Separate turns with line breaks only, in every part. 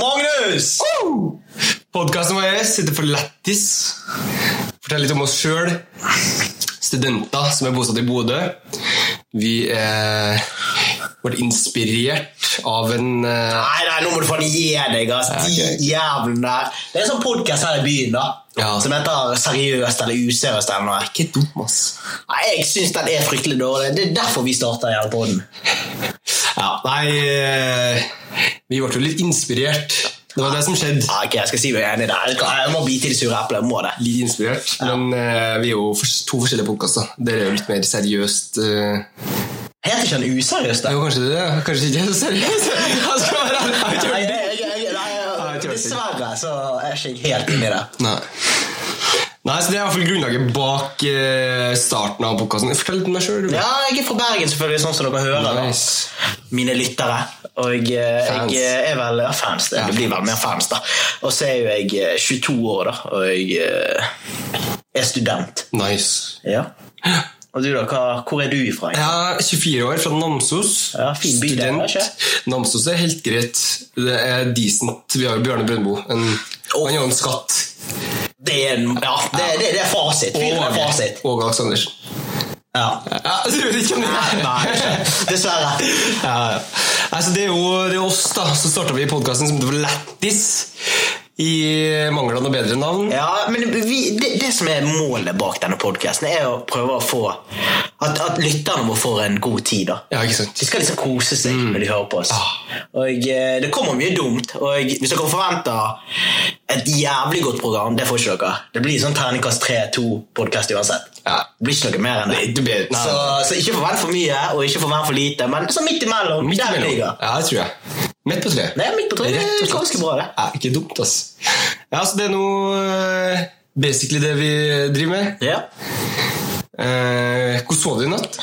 Boys! Podkasten vår sitter for lættis. Fortell litt om oss sjøl. Studenter som er bosatt i Bodø. Vi er ble inspirert av en eh,
Nei, nei, nå må du faen gi deg, ass.
Ja, ok.
De jævlene der. Det er en sånn podkast her i byen, da.
Ja.
Som heter Seriøst eller useriøst eller noe.
Ikke dum, ass.
Nei, jeg syns den er fryktelig dårlig. Det er derfor vi starta denne poden.
Ja, nei eh, Vi ble jo litt inspirert. Det var det som skjedde.
Ja, ok, jeg skal si meg enig der. Jeg kan- Jeg må bite i det sure eplet. Jeg må det.
Litt inspirert, men eh, vi er jo fors- to forskjellige podkaster. Dere er jo litt mer seriøst. eh,
Heter ikke den useriøst, da?
Jo, kanskje det. ja. Kanskje ikke er så seriøst. Altså, Han skal være ærlig. Han
Nei,
kjører
jeg-
bil.
jeg-
Nei,
jeg- nei,
jeg tror ikke.
Dessverre så er ikke jeg helt inne i det.
Nei. Nei, så Det er i hvert fall grunnlaget bak eh, starten av podkasten. Fortell litt om deg sjøl.
Ja, jeg er fra Bergen, selvfølgelig, sånn som dere hører. da.
Nice.
Mine lyttere. Og eh, jeg
Fans.
eh, er vel ja, fans. Det,
Ja,
det blir
fans.
vel mer fans, da. Og så er jo jeg eh, 22 år, da, og jeg eh, er student.
nice.
Ja. Og du, da? Hva, hvor er du ifra? egentlig?
Jeg er 24 år, fra Namsos.
Ja, fin by, det er, ikke?
Namsos er helt greit. Det er decent. Vi har jo Bjørne Brøndbo. En,
Åh.
Han er jo en skatt.
Det er, en- ja, det, det, det er fasit. Fyren er fasit.
Åge Aleksandersen.
Ja.
Ja, du vet ikke om det
Nei,
er
nei, ikke. dessverre.
ja, ja. Nei, så det er jo det er oss, da. Så starta vi podkasten som det var lættis. I mangel av noe bedre navn.
Ja, men vi, det, det som er målet bak denne podkasten, er å prøve å få At, at lytterne våre får en god tid. da
Ja, ikke sant?
De skal liksom kose seg
Mm.
når de hører på oss.
Ah.
Og eh, Det kommer mye dumt. Og Hvis dere forventer et jævlig godt program, det får ikke dere. Det blir sånn terningkast 3-2-podkast uansett.
Ja.
Det blir ikke noe mer enn det.
Nei, det blir- nei.
så, så ikke forvent for mye, og ikke forvent for lite. Men sånn midt imellom.
Midt
der
imellom.
ligger
Ja, det tror jeg. Midt på treet.
Nei, midt på treet,
Rett og
det er ganske
slett.
bra, det.
Ja, ikke dumt, ass. Ja, så det er noe eh, basically det vi driver med.
Ja.
Eh, Hvordan sov du i natt?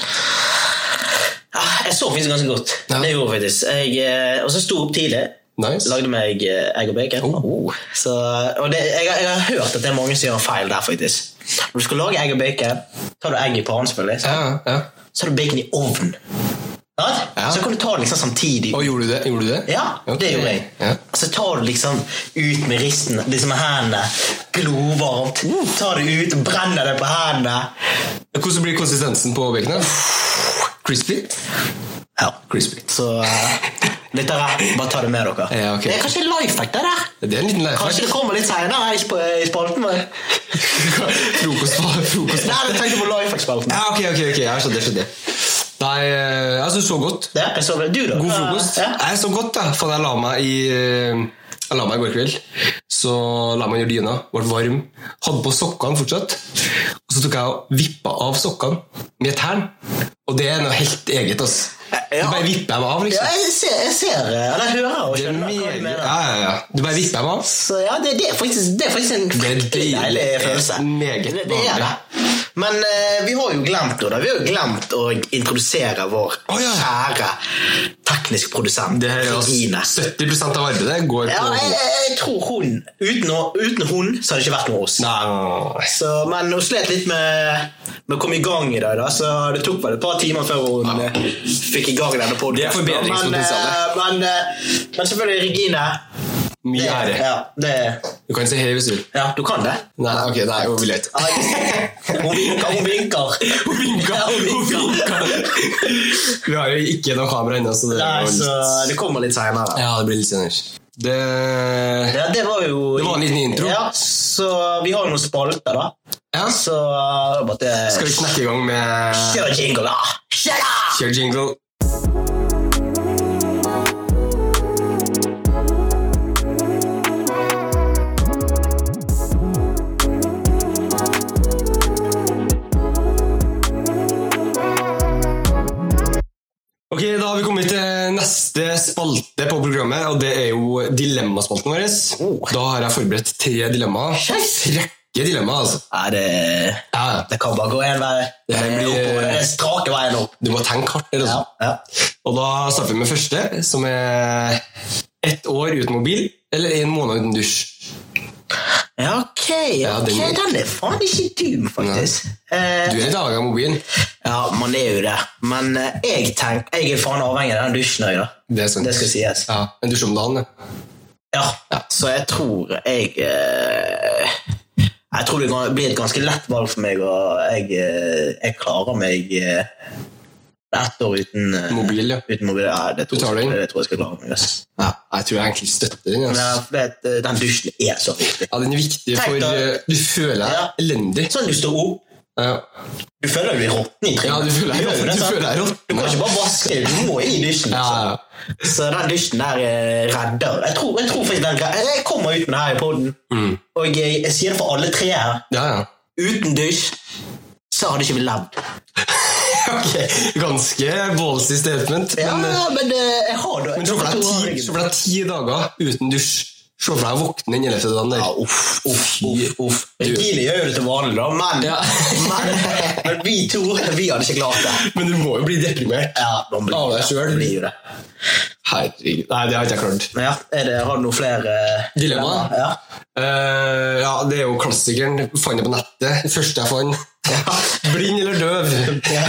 Ah, Jeg sov faktisk ganske godt.
Ja.
Det gjorde jeg faktisk. Jeg, eh, og så sto jeg opp tidlig.
Nice.
Lagde meg eh, egg og bacon.
Oh.
Så, og det, jeg, har- jeg har hørt at det er mange som gjør en feil der, faktisk. Når du skal lage egg og bacon, tar du egg i pannen, selvfølgelig.
Ja, ja.
så har du bacon i ovnen. Sant?
Ja.
Så kan du ta det liksom samtidig.
Og gjorde du det? Gjorde du det?
Ja,
Ok.
det gjorde jeg.
Ja.
Og så tar du liksom ut med risten, liksom med hendene. Glovarmt. Tar det ut, brenner det på hendene.
Hvordan blir konsistensen på baconet? Crispy?
Ja.
Crispy.
Så eh, litt av det. Bare ta det med dere.
Ja, ok.
Det er kanskje life hack, det der.
Det er en liten
Kanskje
lifehack.
det kommer litt seinere i sp- i spalten. Men...
Frokost på frokost.
Nei, jeg tenkte på life hack-spalten.
Ja, ok, ok, ok. Jeg skjønner, jeg skjønner. Nei, eh, jeg synes så godt.
Ja, jeg så det. Du, da?
God frokost.
Ja.
Jeg sov godt, da. Faen, jeg la meg i eh, jeg la meg i går kveld, så la meg under dyna, ble varm, hadde på sokkene fortsatt. Og så tok jeg og vippa av sokkene med tærne. Og det er noe helt eget, altså.
Ja.
Du bare vipper dem av,
Ja,
liksom.
jeg ser, jeg ser eh, Eller jeg hører og
Det er
skjønner hva
meget-
du mener.
ja, ja, ja. Du bare vipper dem av.
Så ja, det, det, er faktisk, det er faktisk en
er
fryktelig
deilig.
deilig
Det er
følelse.
meget
det, det er
behagelig.
det. Men eh, vi har jo glemt det, da. Vi har jo glemt å introdusere vår
Å, ja.
kjære teknisk produsent,
Det her er
Trine.
altså 70 av arbeidet går
Ja,
på
jeg, jeg, jeg tror hun Uten, å- uten hun så hadde det ikke vært noe oss.
Nei.
Så, men hun slet litt med, med å komme i gang i dag, da, så det tok vel et par timer før hun eh, fikk i gang denne podcasten.
Det er forbedringspotensialet.
Men, eh, men, eh, men selvfølgelig, Regine.
Mye
det-
ære.
Ja, det,
Du kan si hei hvis du vil.
ja, du kan det.
Nei, ok, nei, hun vil ikke.
Hun vinker, hun vinker.
Hun vinka!
Ja, hun
Hun
vinker.
vinka. Vi har jo ikke noe kamera ennå, så det er
Nei,
jo
så
litt-
det kommer litt seinere.
Ja, det blir litt senere. Det
Ja, det var jo
Det var en liten intro.
Ja, så vi har jo noen spalter, da.
Ja,
Så uh, bare til-
skal vi knekke i gang med
Kjør jingle, da! Kjør da!
Kjør jingle. Ok, Da har vi kommet til neste spalte på programmet, og det er jo dilemmaspalten vår.
Oh.
Da har jeg forberedt tre dilemmaer. Trekke dilemmaer, altså.
Nei, det,
Ja, ja.
det kan bare gå én vei. Eh,
Det her blir- eh,
oppover. Det er strake veien opp.
Du må tenke hardt. eller
Ja,
sånn.
ja.
Og da starter vi med første, som er ett år uten mobil eller en måned uten dusj.
ja ok.
Ja, den-
ok, Den er faen ikke dum, faktisk. Eh,
Du er litt avhengig av mobilen.
ja, man er jo det. Men eh, jeg tenker, jeg er faen avhengig av den dusjen òg, da.
Det er sant.
Det skal sies.
Ja, En dusj om dagen, ja.
Ja, så jeg tror jeg eh, Jeg tror det kan- blir et ganske lett valg for meg, og jeg, eh, jeg klarer meg eh, ett år uten eh,
Mobil, ja.
Uten mobil. Ja, det, tror jeg,
Betaling.
det tror jeg skal klare meg. ass.
Ja, jeg tror jeg egentlig støtter den.
Men
Altså.
jeg vet, eh, den dusjen er så viktig.
Ja, den er viktig
Tenk
for
da-
eh, Du føler
Ja.
deg elendig.
Sånn du står opp
Ja.
Du føler du er råtten i
Ja, du føler deg-
Du, gjør det,
du
sant?
føler deg råtten,
Du kan
ja.
ikke bare vaske, du må i dusjen.
Ja,
liksom.
ja.
Så den dusjen der eh, redder. Jeg tror, jeg tror faktisk den redder. Jeg kommer ut med det her i poden,
Mm.
og jeg, jeg sier det for alle tre her.
ja, ja.
Uten dusj så hadde ikke vi levd.
Ok, Ganske ballsy statement.
Ja,
Men, eh,
men eh, jeg har det.
men se for deg ti, se for deg ti dager uten dusj. Se for deg å våkne den ellevte dagen der.
Ja, uff, uff, uff. uff. Regine gjør jo det til vanlig, da, men,
Ja.
men, eh, men vi to vi hadde ikke klart det.
Men du må jo bli deprimert.
Ja, man blir,
Av deg selv.
man blir jo det.
Herregud. Nei, det har ikke jeg klart.
Men ja, er det, har du noen flere eh,
Dilemma?
Ja.
Eh, ja, det er jo klassikeren. Fant det på nettet. Det første jeg fant. Blind eller døv?
Ja.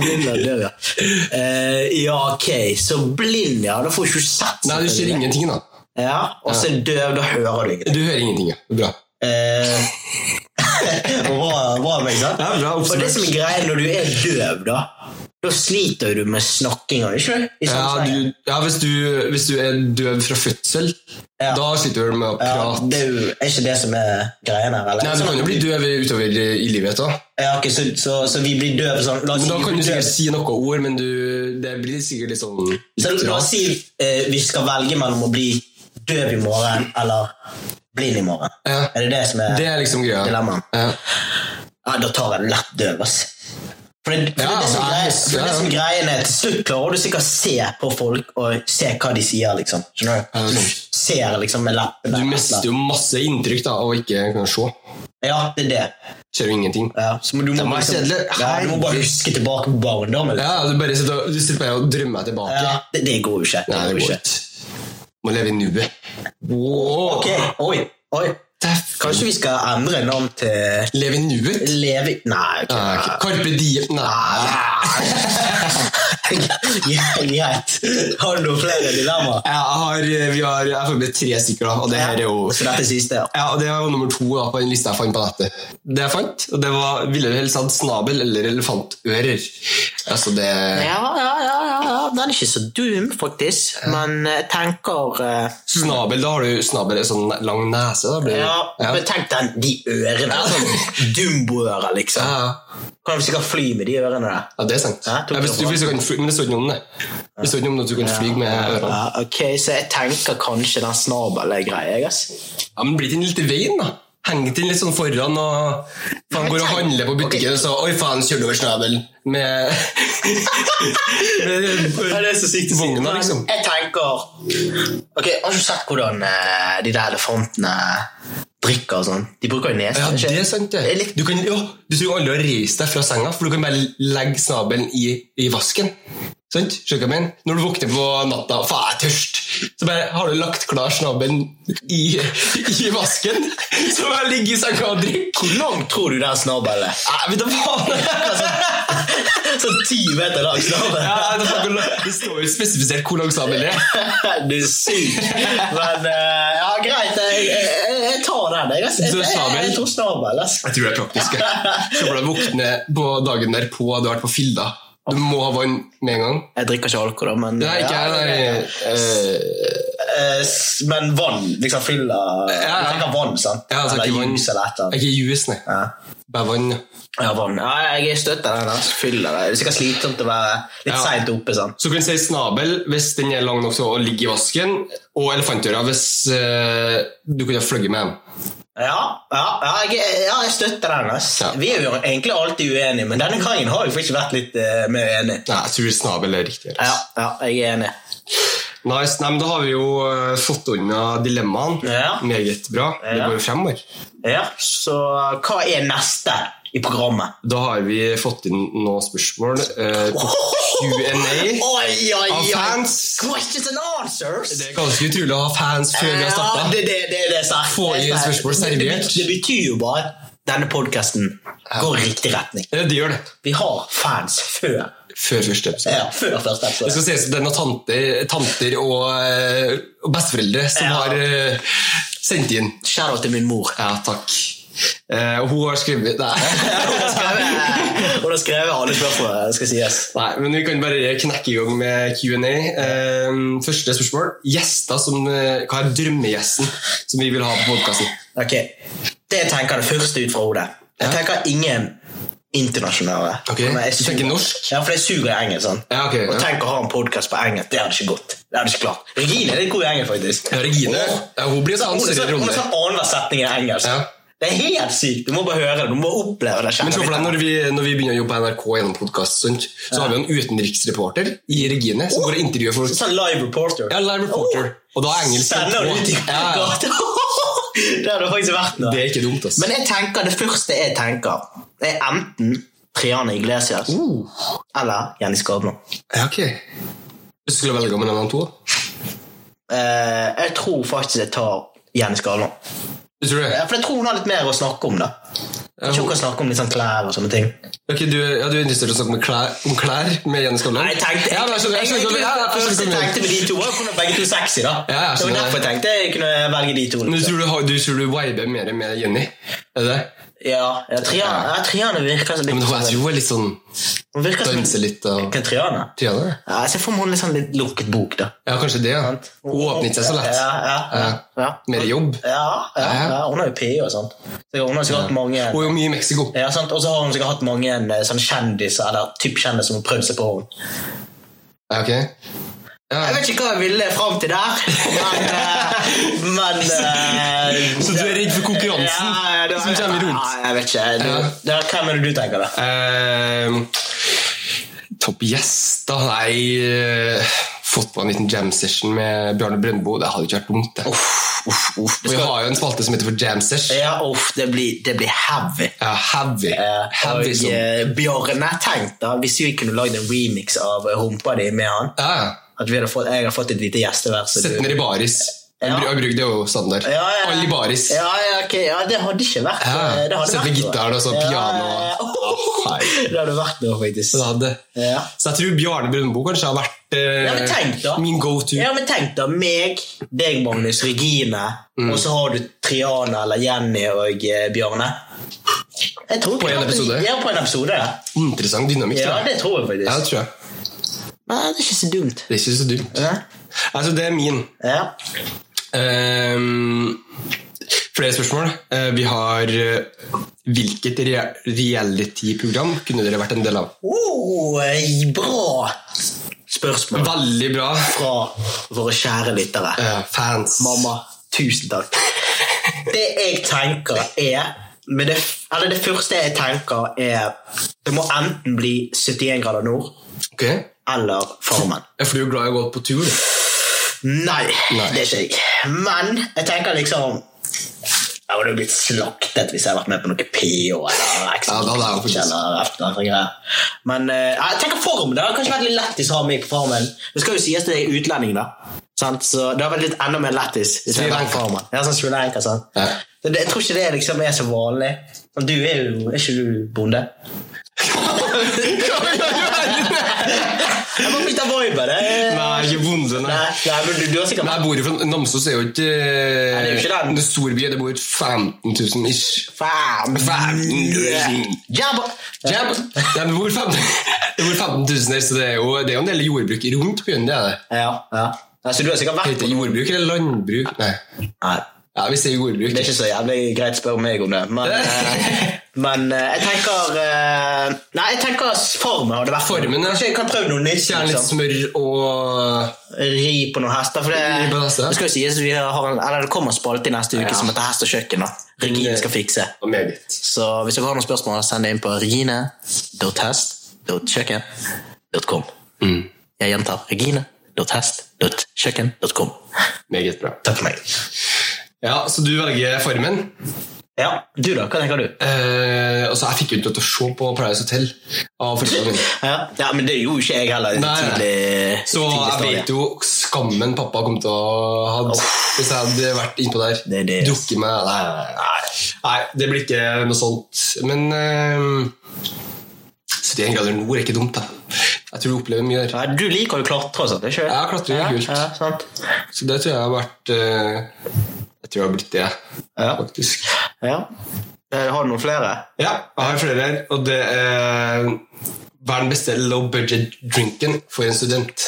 Blind er død, ja. Eh, ja, ok. Så blind, ja. Da får du ikke sett
Nei, du ser ingenting, da.
Ja, Og så døv, da hører du ingenting.
Du hører ingenting, ja. Bra.
Eh, bra, bra meg, da.
Ja, bra
Og
oppsummert.
det som er greia når du er døv, da da sliter jo du med snakkinga, ikke sant? I sånn
Ja,
samfunnet.
du, ja hvis, du, hvis du er døv fra fødsel,
Ja.
da sliter du med å
ja,
prate.
det er, jo, er ikke det som er greia her, eller?
Nei, Du kan jo bli døv utover i livet. da
ja, ok, så, så, så vi blir døve sånn La oss
Men Da
si, vi
kan du
blir
sikkert
døve.
si noen ord, men du, det blir sikkert litt sånn
så,
litt
La
rart.
oss si eh, vi skal velge mellom å bli døv i morgen eller blind i morgen.
Ja.
Er det det som er
Det er liksom greia.
dilemmaet?
Ja.
Ja, da tar jeg lett døv, ass. For det, for
Ja,
det, er det, som
nei,
greien, for det, er
ja,
det
ja.
som greien er, til slutt klarer du sikkert se på folk og se hva de sier, liksom. Skjønner du?
Ja,
Du
sant.
ser liksom med leppene.
Du mister jo masse inntrykk da av å ikke kunne se.
Ja, det er det.
Ser jo ingenting.
Ja, så må du, må,
er bare
liksom-
kjedelig.
ja, du må bare huske tilbake på barndommen.
Ja, Du bare sitter og, du sitter bare og drømmer deg tilbake.
Ja, det, det går jo ikke.
Nei, det går ikke. Må leve i nuet. Wow.
Ok, oi, oi.
Dæven.
Kanskje vi skal endre navn til
Leve i nuet?
Levi... Nei, ok.
Nei, ok. Carpe diem Nei.
Ah. Greit. Har du noen flere dilemmaer?
Jeg har, eh, vi har, jeg har forberedt tre stykker, da, og det her er jo
Så dette er siste, ja.
ja, og Det var nummer to da, på den lista jeg fant på nettet. Det jeg fant, og det var Ville du helst hatt snabel eller elefantører? Altså, det
Ja, ja, ja, ja, ja. Den er ikke så dum, faktisk. Men jeg tenker eh,
Snabel, da har du snabel en sånn lang nese. da blir det-
ja,
ja.
men Tenk den, de ørene. Sånn Dumbo-ører, liksom.
Ja,
Kan vi sikkert fly med de ørene der?
ja, det er sant.
Ja,
Ja,
tok det
hvis du,
bra.
hvis du kan fly, men det står ikke noe om det. Det står ikke noe om at du kan fly med ørene.
Ja, ok, Så jeg tenker kanskje den snabelen er grei. jeg, ass.
Ja, men Blir den litt i veien, da? Henger den litt sånn foran og faen går og handler på butikken og så Oi, faen, kjører du over snabelen med,
Ja,
med
det er så sykt
Vogna, liksom.
Jeg tenker Ok, Har du sett hvordan eh, de der elefantene drikker og sånn? De bruker jo nesen.
Ja,
ikke?
det er sant,
Det er
det.
litt-
Du, kan, ja, du trenger aldri å reise deg fra senga, for du kan bare legge snabelen i, i vasken. Sant? Skjønner du hva jeg mener? Når du våkner på natta og faen, jeg er tørst, så bare har du lagt klar snabelen i, i vasken, så bare ligger i senga og drikker.
Hvor langt tror du den snabelen er?
Nei, vet du faen!
Sånn ti meter lang snabel?
Ja, nei, det, er faen hvor lang- det står jo spesifisert hvor lang snabelen er.
Du er syk. Men eh, ja, greit. Jeg, jeg, jeg- jeg tar den. Jeg, jeg,
Du er
jeg, jeg,
snabel.
jeg tror snabel. ass.
Jeg tror det er praktisk. jeg. Se for deg å våkne på dagen derpå, du har vært på fylla. Du må ha vann med en gang.
Jeg drikker ikke alkohol, men
Nei, ikke
ja,
jeg.
det-
Nei. Eh,
Eh, s- Men vann. Liksom fyll av
ja.
Jeg tenker vann, sant?
Ja, altså,
eller
ikke vann.
juice eller et eller annet.
Ikke jus, nei.
Ja.
Bare vann. ja.
Ja, vann. Ja, jeg støtter den. ass. Fyll av det. Det er sikkert slitsomt å være litt
Ja.
seint oppe. sant?
Så kan du si snabel hvis den er lang nok til å ligge i vasken, og elefantører hvis eh, du kunne ha fløyet med dem.
Ja, ja, ja, jeg, ja jeg støtter den. ass.
Ja.
Vi er jo egentlig alltid uenige, men denne gangen har jeg faktisk vært litt eh, mer enig.
Nei, jeg tror snabel er riktig.
Ja,
altså.
ja, jeg er enig.
Nice. Nei, men da har vi jo eh, fått unna dilemmaen.
Ja.
Meget bra. Det
Ja.
går jo fremover.
Ja, Så hva er neste i programmet?
Da har vi fått inn noen spørsmål eh, på Q&A
Oi, oi,
av
oi!
fans.
Questions and answers!
Det er ganske utrolig å ha fans før vi har
Ja,
starta.
det, det, det, det er sant.
Få inn
Det er sant.
spørsmål
Det- det
servert.
betyr- Det betyr jo bare at denne podkasten går i riktig retning.
Ja, det gjør det.
Vi har fans før,
Før første episode.
ja, før første
Det
episode.
skal ses ut som den av tanter, tanter og, eh, og besteforeldre som
Ja.
har eh, sendt inn.
Shadow til min mor.
Ja, takk. Eh, og hun har skrevet Nei.
Hun har skrevet- Hun har skrevet alle spørsmålene, skal sies.
Nei, men vi kan bare knekke i gang med Q&A. Eh, første spørsmål. Gjester som eh, Hva er drømmegjesten som vi vil ha på podkasten?
Ok, Det jeg tenker det første ut fra hodet. Jeg
Ja.
tenker ingen internasjonale.
Ok,
Men jeg
du
suger-
tenker norsk?
Ja, for jeg suger i engelsk. sånn.
Ja, ok, ja.
Og tenk å ha en podkast på engelsk. Det hadde ikke gått. Det hadde ikke klart. Regine er litt god i engelsk, faktisk.
Ja, Regine. Ja, hun blir sånn
Hun
større
er sånn, hun er
rolle.
sånn annenhver setning i engelsk.
Ja.
Det er helt sykt. Du må bare høre det. Du må oppleve det.
Men
kjenne
se for
det.
deg når vi, når vi begynner å jobbe på NRK gjennom podkast, så har vi en utenriksreporter i Regine som går og intervjuer folk.
Sånn live reporter.
Ja, live reporter. Og da er engelsk
Sender
på.
hun ut i
Ja, ja.
gata. Det hadde faktisk vært noe.
Det er ikke dumt, altså. ass.
Men jeg tenker, det første jeg tenker, er enten Triane Iglesias eller Jenny Skavlan.
Ja, ok. Du skulle velge mellom de to? da?
Eh, jeg tror faktisk jeg tar Jenny Skavlan.
Du tror det?
Ja, For jeg tror hun har litt mer å snakke om. da
Ja,
Ikke
hun-
hun kan snakke om litt sånn klær og sånne ting.
Ok, du, ja, du er interessert i å snakke om klær, om klær med Jenny Skavlan?
Nei, jeg tenkte
ja, men jeg skjønner, jeg skjønner,
egentlig-
ja, ja, jeg
først jeg
skjønner,
tenkte med de to, og hun er begge to sexy, da.
Ja, jeg
det var
skjønner.
derfor jeg tenkte jeg kunne velge de to.
Men du
Liksom.
tror du, har- du, tror du viber mer med Jenny? Er det det?
Ja, ja, Triane, ja, Triane virker som
Ja,
litt
men hun, jeg tror hun er litt sånn
Hun virker som
danser litt og
Hvem er Triane?
Triana? ja.
Ja, jeg ser for meg hun litt sånn litt lukket bok, da.
Ja, kanskje det. Ja. Hun åpner ikke seg så lett.
Ja, ja, ja. ja.
Mer jobb.
Ja, ja,
Ja.
ja. hun er jo PI og sånt. Så hun har sikkert hatt mange
Hun er jo mye i Mexico.
ja, sant? Og så har hun sikkert hatt mange eh, sånn kjendiser eller typ kjendiser som har prøvd seg på henne.
Ja, ok. Ja.
Jeg vet ikke hva jeg ville fram til der, men, eh, men eh,
Så du er redd for konkurransen
ja, ja, det var-
som kommer rundt?
Ja, jeg vet ikke. Du,
Ja.
det er, hva mener du tenker, da?
Ehm, Topp gjester Nei, eh, fått på en liten jam session med Bjarne Brøndbo. Det hadde ikke vært dumt. det Og Vi har jo en spalte som heter for jam session.
Ja, uff, det blir, det blir heavy.
Ja, heavy.
Eh,
heavy
og
som ja.
eh, Bjarne, tenk da, hvis vi kunne lagd en remix av eh, Humpa di med han
ja.
At vi hadde fått, jeg har fått et lite gjestevers. og
Sett
du-
ned i baris. Jeg
Ja.
bru- jeg bruker det jo standard.
Ja, ja, ja.
Alle i baris.
Ja, ja, ok. ja, det hadde ikke vært eh,
Ja.
det hadde
Sett
vært
med
noe.
gitar og så
Ja,
piano.
ja, ja.
Å, hei.
Det hadde vært noe, faktisk.
Så det hadde-
Ja.
Så jeg tror Bjarne Brøndbo kanskje har vært eh,
Ja, men tenk da.
min go to.
Ja, men tenk da, meg, deg, Magnus, Regine,
Mm.
og så har du Triana eller Jenny og eh, Bjarne. Jeg tror
På en episode?
Ja, på en episode. ja.
Interessant dynamikk.
Ja,
tror jeg.
det tror jeg
Ja,
faktisk.
det tror jeg.
Nei, det er ikke så dumt.
Det er ikke så dumt.
Ja.
Altså, det er min.
Ja.
Ehm, flere spørsmål. Eh, vi har eh, Hvilket rea- reality-program kunne dere vært en del av?
Oh, eh, bra spørsmål
Veldig bra.
fra våre kjære lyttere.
Eh, fans.
Mamma, tusen takk. Det jeg tenker er men det, eller det første jeg tenker, er Det må enten bli 71 grader nord
Ok.
eller Farmen.
Ja, for du er glad i å gå på tur? du.
Nei,
Nei.
det er ikke jeg. Men jeg tenker liksom Jeg hadde jo blitt slaktet hvis jeg hadde vært med på noe PO eller X
Ja, da hadde jeg jo faktisk-
eller et eller annet greier. Men eh, jeg tenker Farmen. Det hadde kanskje vært litt lættis å ha meg på Farmen. Det skal jo sies det er utlending, da. Sant? Så det hadde vært litt enda mer lættis. hvis jeg
Sri
hadde vært på
Lanka.
Farmen. Ja, sånn Sri Lanka, sant?
Ja.
Så det, jeg tror ikke det liksom er så vanlig. Men Du er jo Er ikke du bonde? Jeg må bytte vibe. det.
Nei, ikke bonde, nei.
Nei, nei, men du, du har sikkert
Nei, jeg bor jo fra Namsos, er jo ikke eh,
det er jo ikke den.
en stor by. Det bor jo 15 000 ish.
Faen.
15
sånn-
000.
Jabba.
Ja, men- ja, men det bor 15 det bor 15 000 her, så det er jo, det er jo en del jordbruk rundt byen. det er det.
Ja, ja. Nei, så du har sikkert vært
Heter det jordbruk eller landbruk? Nei.
Nei,
Ja, vi sier jordbruk.
det er ikke så jævlig greit å spørre meg om det, men, eh, men eh, jeg tenker eh, Nei, jeg tenker formen hadde vært
Formen, ja.
Kanskje jeg kan prøve noe nytt.
Gjerne litt
Liksom.
smør og
Ri på noen hester. For det,
Ri på hester.
det skal jo sies vi har en, eller det kommer en spalte i neste uke som heter Hest og kjøkken. da Regine skal fikse.
Og meget.
Så hvis dere har noen spørsmål, send det inn på regine.hest.kjøkken.com. Jeg gjentar regine.hest.kjøkken.com.
Meget bra.
Takk for meg.
Ja, Så du velger Farmen?
Ja, du da? Hva tenker du?
Eh, altså, jeg fikk jo ikke lov til å se på Paradise Hotel av foreldrene mine.
Ja, ja men det gjorde ikke jeg heller. i
Nei, nei.
tidlig,
Så jeg
tidlig stadie.
vet jo skammen pappa kom til å ha hvis jeg hadde vært innpå der.
Det er det.
Drukket meg nei, nei, nei, nei, det blir ikke noe sånt. Men eh, 71 grader nord er ikke dumt, da. Jeg tror du opplever mye der.
Ja, du liker jo klatre og sånt, ikke
Ja, klatring er kult.
Ja, sant.
Så det tror jeg har vært eh, Jeg tror jeg har blitt det,
Ja.
faktisk.
Ja. Eh, Har du noen flere?
Ja, jeg har flere her, og det er Hva er den beste low budget-drinken for en student?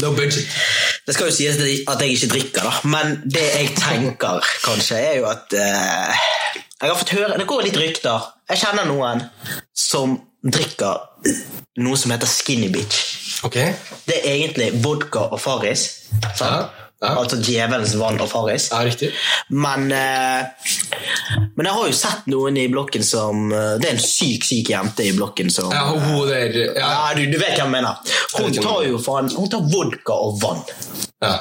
Low budget.
Det skal jo sies at jeg ikke drikker, da. men det jeg tenker kanskje, er jo at eh, Jeg har fått høre Det går litt rykter. Jeg kjenner noen som drikker noe som heter skinny bitch.
Ok.
Det er egentlig vodka og Farris. sant?
Ja, ja.
Altså djevelens vann og Farris.
Ja, riktig.
Men, eh, men jeg har jo sett noen i blokken som eh, Det er en syk, syk jente i blokken som
Ja, og hun der ja,
Ja, du, du vet hva jeg mener.
Jeg
Hun
vet hvem
tar jo faen Hun tar vodka og vann.
ja.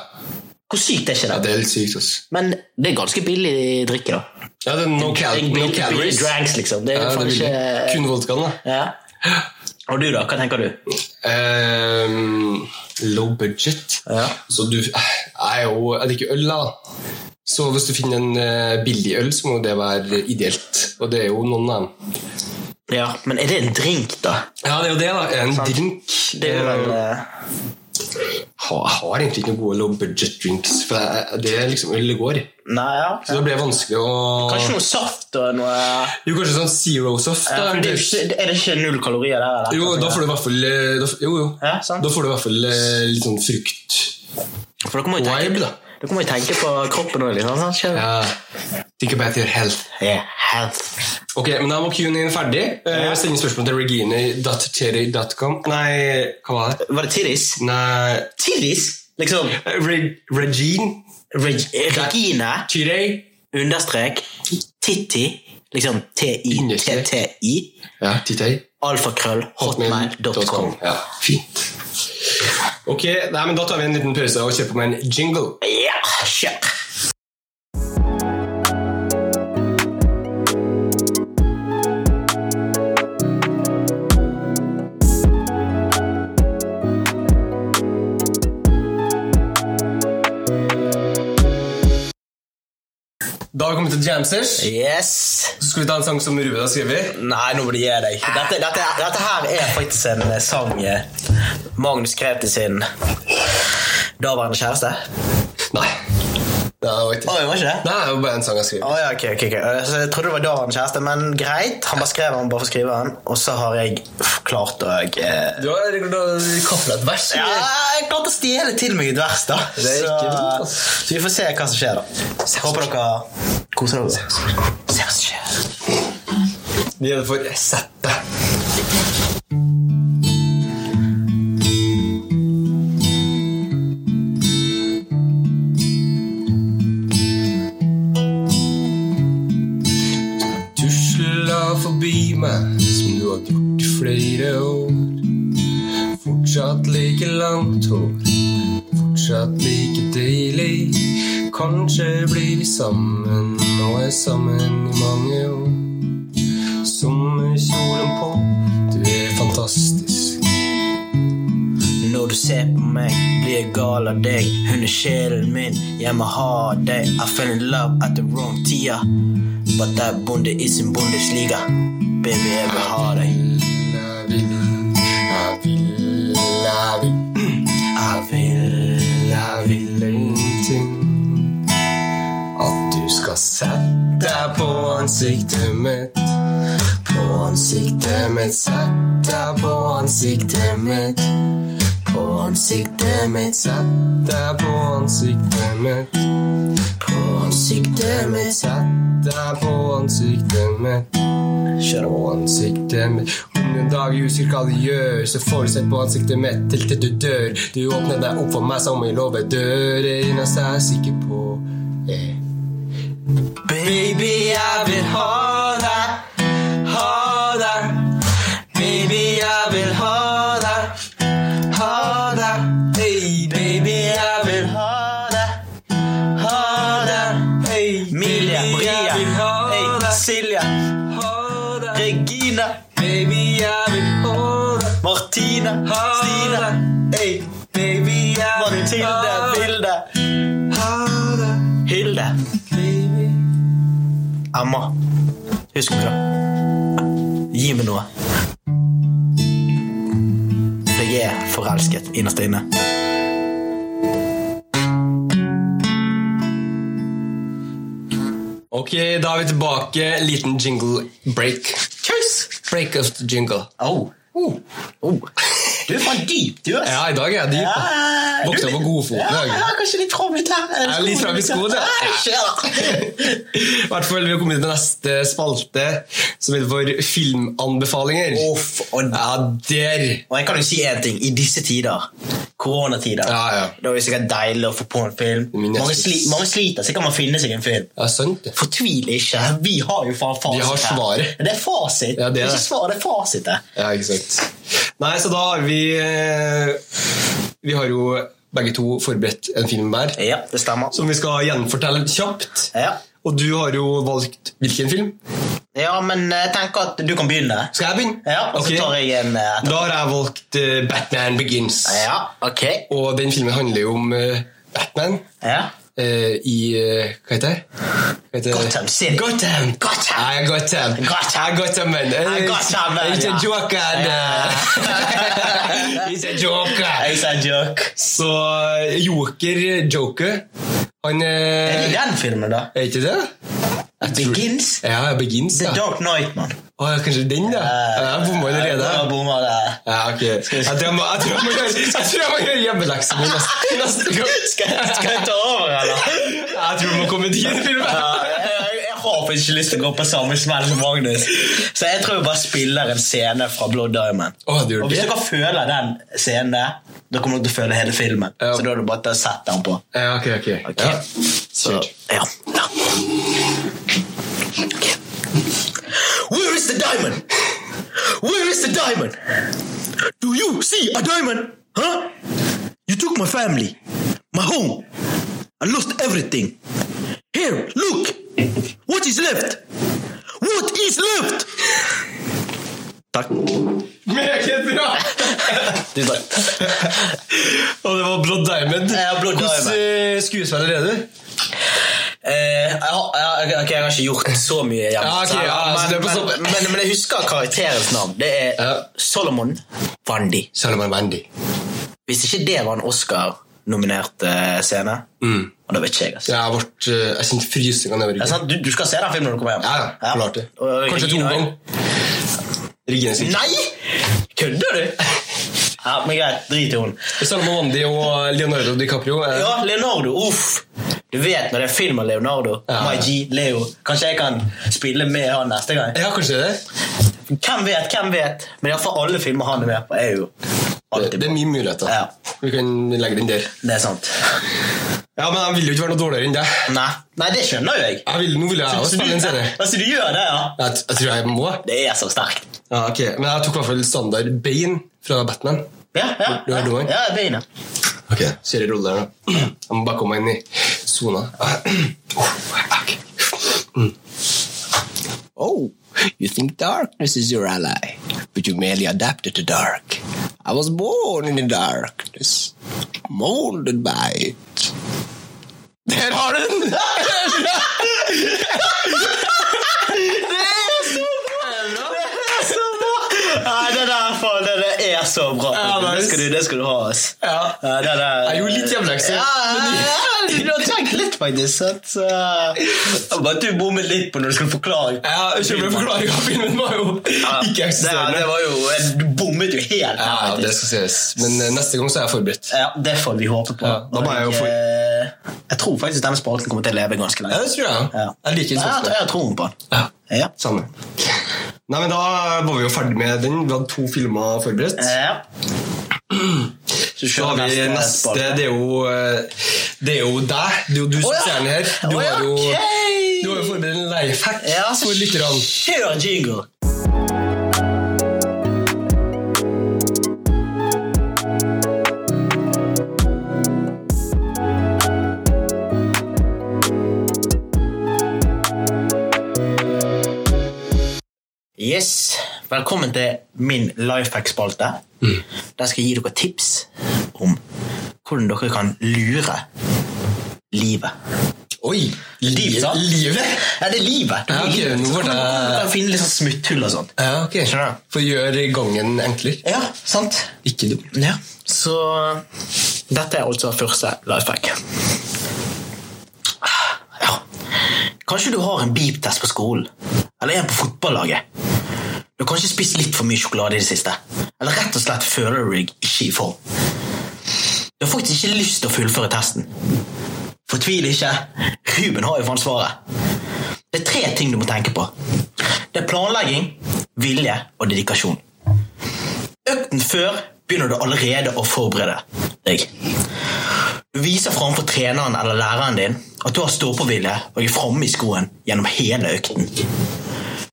Hvor sykt er ikke det?
ja, det er litt sykt, altså.
Men det er ganske billig drikke, da.
Ja, det er no, cal
Billig-
no
billig
calories.
Drinks, liksom. Det
Ja,
er jo
det
faen
vil
ikke
jeg. Kun vodkaen, da.
ja. Og du, da? Hva tenker du?
Ehm, low budget.
Ja.
Så du Jeg er jo Jeg drikker øl, da. Så hvis du finner en eh, billig øl, så må det være ideelt. Og det er jo noen av dem.
Ja, Men er det en drink, da?
Ja, det er jo det, da. En drink. Eh,
Det er jo vel eh,
Ha- Jeg har egentlig ikke noen gode low budget drinks, for jeg- det er liksom øl det går i.
Nei, ja.
Så det blir vanskelig å
Kanskje noe saft og noe
Jo, kanskje sånn zero soft.
ja,
Da,
for det er, jo
eventuelt.
ikke, er det ikke null kalorier der? Eller?
jo, da får du i hvert fall eh, da, f- Jo, jo.
Ja, sant.
Da får du i hvert fall eh, litt sånn frukt-vibe,
For dere må jo tenke,
da.
dere må jo tenke på kroppen òg, liksom. Sant? Skjønner du?
Ja. Think about your health.
Yeah, health.
Ok, men da var Q&A -en ferdig. Eh, Send inn spørsmål til regine.terry.com Nei, hva var det?
Var det Tidis?
Nei
Tidis? Liksom
eh, Reg Regine
Reg Regine
Tyrey.
understrek Titti. Liksom T-I-T-T-I.
Ja, Titei.
alfakrøll hotmail.com.
Ja, fint. Ok, nei, men Da tar vi en liten pause og kjøper meg en jingle.
Ja, kjør!
Da har vi kommet til Jamsters.
Yes!
Så skal vi ta en sang som Ruben har skrevet.
Nei, nå må du gi deg. Dette, dette, dette her er faktisk en eh, sang eh, Magnus skrev til sin daværende kjæreste.
Nei. Det var ikke
Å,
det.
det var ikke det?
Nei, det var bare en sang jeg skrev.
Å, ja, ok, ok, ok. Eh, Så jeg trodde det var daværende kjæreste, men greit. Han bare skrev han bare for å skrive han, og så har jeg f- klart å eh,
Du har kafla et vers?
ja, jeg klarte å stjele til meg et vers, da.
er
så,
ikke dumt, altså.
så vi får se hva som skjer, da. Håper dere koser dere. Se hva som skjer.
Det er for Sett deg. Tusla forbi meg som du har gjort i flere år. Fortsatt like langt hår, fortsatt like deilig. Kanskje blir vi sammen og er sammen i mange år. Sommerkjolen på, du er fantastisk.
Når du ser på meg, blir jeg gal av deg. Hun er sjelen min, jeg må ha deg. I fell in love at the wrong tida. But that bonde is in Bundesliga. Baby, jeg vil ha deg.
Jeg vil, jeg vil, jeg vil,
Jeg vil
jeg vil ingenting. At du skal sette deg på ansiktet mitt. På ansiktet mitt, sett deg på ansiktet mitt. På ansiktet mitt, sett deg på ansiktet mitt. På ansiktet mitt, sett deg på ansiktet mitt.
Kjør
på ansiktet mitt. Om en dag jeg husker hva du gjør, så får du se på ansiktet mitt til til du dør. Du åpner deg opp for meg som en lovet dør. Det eneste jeg er sikker på, er Baby, jeg vil ha deg, ha deg. Baby, jeg vil ha deg, ha deg. Hey, baby, jeg vil ha
Ha deg.
ha deg. Hey,
Emilia,
baby, jeg
Maria,
vil Baby, jeg vil holde
Martine, Stine,
Stine.
ey,
Baby, jeg vil
Mathilde,
ha deg.
Vilde,
Ha deg,
Hilde,
baby.
Emma. Husk meg, da. Gi meg noe. For jeg er forelsket innerst inne.
Ok, da er vi tilbake. Liten jingle break. Cheers! Break us to jingle.
Au.
Oh.
Oh. Du er faen dyp, du, ass.
Ja, i dag er jeg dyp. da.
du
Våkna på
er litt-
godfot i
Ja,
dag.
jeg har kanskje litt travelt her.
Jeg er litt fram i skoen, ja. I hvert fall, Vi har kommet til neste spalte, som heter for filmanbefalinger.
Uff, og,
Ja, der!
og jeg kan jo si én ting. I disse tider, koronatider,
Ja, ja.
da er det sikkert deilig å få på en film.
Min
Mange,
Netflix.
sli, mange sliter, så kan man finne seg en film.
Ja, sant det.
Fortvil ikke. Vi har jo faen fasit.
Vi har
her.
svaret.
Det er fasit.
Ja, det er
det er
det.
ikke svar, det er fasitet.
Ja, ikke sant. Nei, så da har vi eh, Vi har jo begge to forberedt en film hver,
Ja, det stemmer.
som vi skal gjenfortelle kjapt.
Ja.
Og du har jo valgt hvilken film?
ja, men eh, jeg tenker at du kan begynne.
Skal jeg begynne?
Ja, og
Ok.
så tar jeg en eh, etter.
Da har jeg valgt eh, Batman Begins.
Ja, ok.
Og den filmen handler jo om eh, Batman
Ja.
eh, i eh, Hva heter det? Hva heter det?
Gotham City.
Gotham!
Gotham.
Jeg er Gotham.
Gotham.
Jeg er Gotham-man.
er
Eh,
Gotham-man,
Ikke
ja.
joker.
Ja.
eh. Ikke joker.
Jeg sa joke.
Så eh, Joker, Joker, han
Er
eh,
det den filmen, da?
Er ikke det?
Begins?
Ja, Begins,
The
ja.
Dark Knight, mann.
Å, ja, kanskje den, da? Ja, Jeg bomma allerede.
Jeg bomma der.
Ja, ok. Jeg tror jeg må, jeg tror jeg må gjøre, jeg tror jeg må gjøre hjemmeleksa mi neste, neste gang.
Skal, jeg- skal jeg ta over, eller?
Jeg tror jeg må komme dit i
Ja,
filmen.
jeg, jeg- jeg har faktisk ikke lyst til å gå på samme smell som Magnus. Så jeg tror jeg bare spiller en scene fra Blood Diamond.
Å, du
Og
gjør
hvis
det?
dere føler den scenen der, da kommer dere til å føle hele filmen.
Ja.
Så da er det bare til å sette den på.
Ja, ok, ok.
Ok?
Ja.
Så, ja. ja. Ok. Where is the diamond? Where is the diamond? Do you see a diamond? Huh? You took my family, my home. I lost everything. Here, look. What is left? What is left? Takk.
Meget bra!
Tusen takk.
Og det var Blood Diamond.
Ja, Blood
Hvordan
Diamond.
eh, skuespiller er du?
Eh, jeg, har, jeg, har- ok, jeg har ikke gjort så mye hjemme.
Ja, ok,
så jeg-
ja, så det er på
men, men,
så-
men, men jeg husker karakterens navn. Det er
Ja.
Solomon Wandi.
Salman Mandy.
Hvis ikke det var en Oscar-nominert eh, scene,
Mm.
og da vet ikke jeg. altså.
Jeg har vært, eh, jeg kjente frysninga nedover
Det er
ryggen.
sant? Du, du skal se den filmen når du kommer hjem.
Ja, ja, klart det.
Og- og-
Kanskje to ganger. Ryggen sin.
Nei! Kødder du? Ja, men greit. Drit i hun.
Salman Mandy og Leonardo DiCaprio. eh,
Ja, Leonardo. Uff. Du vet når det er film av Leonardo.
Ja.
My G, Leo. Kanskje jeg kan spille med han neste gang.
Ja, kanskje det.
Hvem vet, hvem vet? Men iallfall alle filmer han er med på, er jo
Det,
alltid
det er
bra.
mye muligheter.
Ja.
Vi kan legge den der.
Det er sant.
Ja, men jeg vil jo ikke være noe dårligere enn deg.
Nei, Nei det skjønner jo jeg.
Jeg vil, nå vil jeg også
Så du,
spille en scene.
altså, du gjør det, ja?
Jeg, jeg tror jeg må.
Det er så sterkt.
Ja, ok. Men jeg tok i hvert fall standard Bane fra Batman.
Ja, ja.
Du er
ja,
doer.
ja, jeg begynner.
Ok, kjører jeg rolle her nå. Jeg må bare komme meg inn i zona. Ok. Mm.
Oh, you think darkness is your ally, but you merely adapted to dark. I was born in the darkness, molded by it.
Der har du den!
Nei, det der faen, det der er så bra.
Ja,
det,
nice.
skal du, det skal du ha, ass.
Ja.
Ja, det der,
Jeg gjorde litt hjemmelekse.
Ja, ja, ja, du har tenkt litt, faktisk. sant? Så, eh, Bare at du bommet litt på når du skulle forklare.
Ja, kjøper forklaringen av filmen var jo ikke
Det, det
eksisterende.
var jo, du bommet jo helt.
Ja,
faktisk.
det skal ses. Men eh, neste gang så er jeg forberedt.
Ja, det får vi håpe på.
Ja, da må jeg jo få-
eh, jeg tror faktisk denne spalten kommer til å leve ganske
Ja,
lenge.
det tror jeg. Jeg liker den
Ja,
sånn.
jeg, jeg tror på den.
Ja,
Ja.
samme. Nei, men da var vi jo ferdig med den. Vi hadde to filmer forberedt.
Ja.
Så har vi Eh, neste Det er jo, eh, det er jo deg. Det er jo du som
Å, ja.
stjerne her. Du
Å, ja,
har jo,
ok.
du har jo forberedt en life hack
Ja, så
for lytterne.
Kjør jingle! Yes. Velkommen til min Lifehack-spalte. Der skal jeg gi dere tips om hvordan dere kan lure livet.
Oi!
Livet, sant?
Livet?
Ja, det er livet. Det er
Ja, ok,
livet. Så
nå ble
kan man-
det-
kan finne litt sånn smutthull og sånn.
Ja, ok.
Skjønner.
For gjør gangen enklere.
Ja, sant?
Ikke dumt.
Ja, så dette er altså første lifehack. Ja. Kanskje du har en beep-test på skolen, eller en på fotballaget. Du har kanskje spist litt for mye sjokolade i det siste, eller rett og slett føler du deg ikke i form. Du har faktisk ikke lyst til å fullføre testen. Fortvil ikke, Ruben har jo faen svaret. Det er tre ting du må tenke på. Det er planlegging, vilje og dedikasjon. Økten før begynner du allerede å forberede deg. Du viser framfor treneren eller læreren din at du har ståpåvilje og er framme i skoen gjennom hele økten.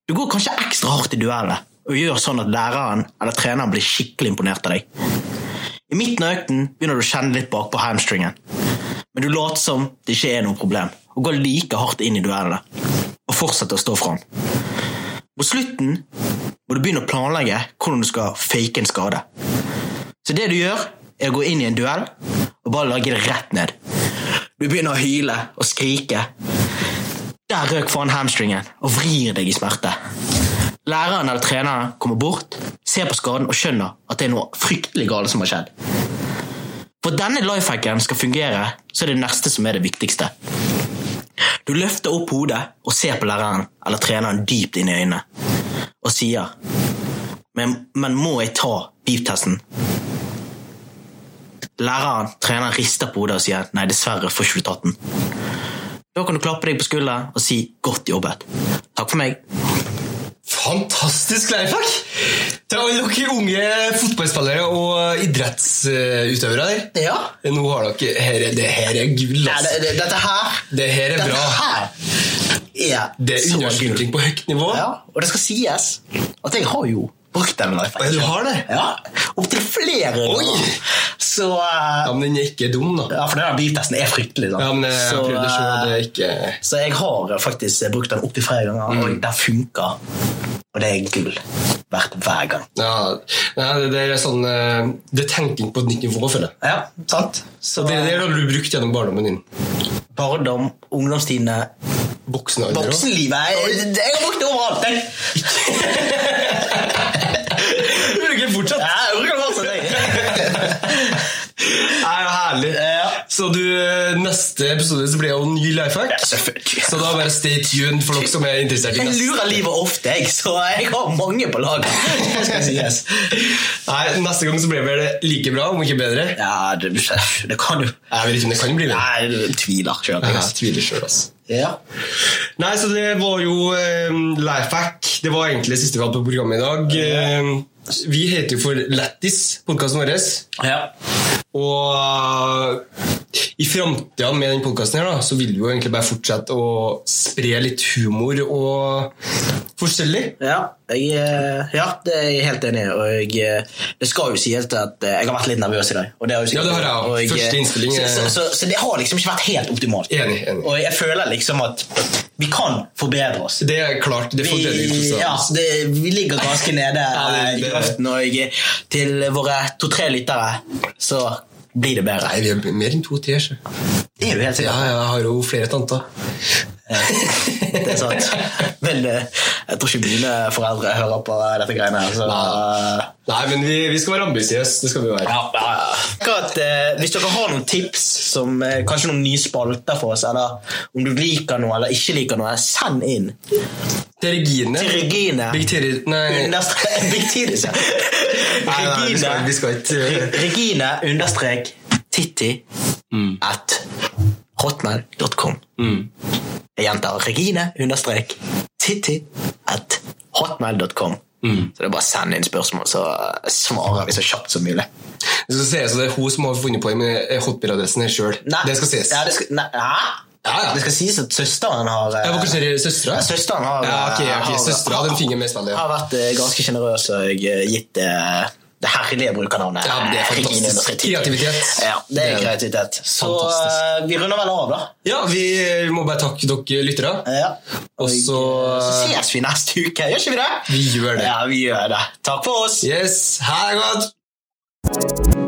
Du går kanskje ekstra hardt i duellene og gjør sånn at læreren eller treneren blir skikkelig imponert av deg. I midten av økten begynner du å kjenne litt bakpå hamstringen, men du later som det ikke er noe problem, og går like hardt inn i duellene og fortsetter å stå fram. Mot slutten må du begynne å planlegge hvordan du skal fake en skade. Så det du gjør, er å gå inn i en duell og bare lage det rett ned. Du begynner å hyle og skrike. Der røk faen hamstringen og vrir deg i smerte. Læreren eller treneren kommer bort, ser på skaden og skjønner at det er noe fryktelig galt som har skjedd. For at denne lifehacken skal fungere, så er det neste som er det viktigste. Du løfter opp hodet og ser på læreren eller treneren dypt inn i øynene og sier Men, men må jeg ta beep-testen? Læreren, treneren rister på hodet og sier nei, dessverre får ikke du tatt den. Da kan du klappe deg på skulderen og si godt jobbet. Takk for meg.
Fantastisk lifehack! Til alle dere unge fotballspillere og idrettsutøvere der.
Ja.
Nå har dere her, er- Det her er gull,
Nei,
ass.
det, det, dette her
Det her er
dette
bra.
her er
Det er
så
underskuldring
gull.
på høyt nivå.
Ja, og det skal sies at jeg har jo brukt den
Ja,
lifehacken.
du har det?
Ja, Opptil flere
Oi!
ganger. Så eh,
Ja, men den er ikke dum, da.
Ja, for den beep-testen er fryktelig. sant?
Ja, men jeg
så,
prøvde å se,
eh,
det er ikke
Så jeg har faktisk brukt den opptil flere ganger, og den funker. Og det er gull hvert hver gang.
ja, Nei, det der er sånn eh, Det er tenking på et nytt nivå, føler jeg.
Ja, sant? Så
Det der har du brukt gjennom barndommen din.
barndom, ungdomstidene,
Voksen alder også.
voksenlivet Jeg, jeg har brukt det overalt, jeg.
Du bruker fortsatt.
Ja, jeg bruker det fortsatt, jeg.
Nei, herlig.
Ja.
Så du, eh, neste episode så blir det jo en ny lifehack.
Selvfølgelig.
Så da bare stay tuned for dere som er interessert i
Jeg
neste.
lurer livet ofte, jeg, så jeg har mange på lag. Det skal sies.
Nei, neste gang så blir det vel like bra, om ikke bedre.
Ja, det, det kan du.
Jeg vet ikke om det kan bli det.
Nei, du tviler sjøl.
Jeg tviler selv, altså.
Ja.
Nei, så det var jo um, Lifehack. Det var egentlig det siste vi hadde på programmet i dag. Ehm, vi heter jo for Lættis, podkasten vår.
ja.
Og eh, i framtida med den podkasten her, da, så vil vi jo egentlig bare fortsette å spre litt humor og forskjellig.
Ja, jeg, eh, ja, det er jeg helt enig i. Og jeg, eh, det skal jo sies at eh, jeg har vært litt nervøs i dag. Og det har jo sikkert-
Ja, det har jeg også.
og eh,
Første innspilling
Så,
er-
så, så, så det har liksom ikke vært helt optimalt.
Enig. enig.
Og jeg føler liksom at vi kan forbedre oss.
Det er klart. Det er
Vi,
forbedringsprosess.
ja, det, vi ligger ganske nede
Ja, det-
eh, i
det-
grøften, og jeg, til våre to-tre lyttere så blir det bedre.
Nei, vi er mer enn to tier. så.
Det er jo helt
Ja,
sikkert.
jeg har jo flere tanter.
Det er sant. Men eh, jeg tror ikke mine foreldre hører på dette greiene. her, Så, eh,
Nei, men vi, vi skal være ambisiøse. Det skal vi være.
Ja, ja, ja. Akkurat, eh, hvis dere har noen tips, som, eh, kanskje noen nye spalter for oss, eller om du liker noe eller ikke liker noe, send inn
Det er Regine.
til Regine.
Big Terry Nei.
understrek- Big Tidis, ja.
Nei, nei, vi skal-
Regine,
vi skal ikke-
Re- Regine understrek titti
Mm.
at hotmail.com. Jeg gjentar Regine understrek titti at hotmail.com.
Mm.
Så det er bare å sende inn spørsmål, så svarer vi så kjapt som mulig.
Det skal sies at det er hun som har funnet på det med hotmail-adressen her sjøl.
Nei.
Det skal sies.
Ja, det, skal, nei, hæ?
Ja, ja.
det skal sies at søsteren har eh,
Jeg var kanskje søstera?
ja, Søsteren har
Ja, ok,
eh,
ok,
har-
søstera hadde en finger med i spillet. ja.
har vært eh, ganske sjenerøs og eh, gitt eh, Det herlige brukernavnet.
Ja, det er
Ingen
fantastisk.
understrek.
Kreativitet.
Ja, det
Det
er
er-
kreativitet. Så
Fantastisk.
eh, vi runder vel av, da.
Ja, vi må bare takke dere lyttere.
Ja.
Og så
Så ses vi neste uke, gjør ikke vi det?
Vi Eh, gjør det.
Ja, vi gjør det. Takk for oss.
Yes, ha det godt!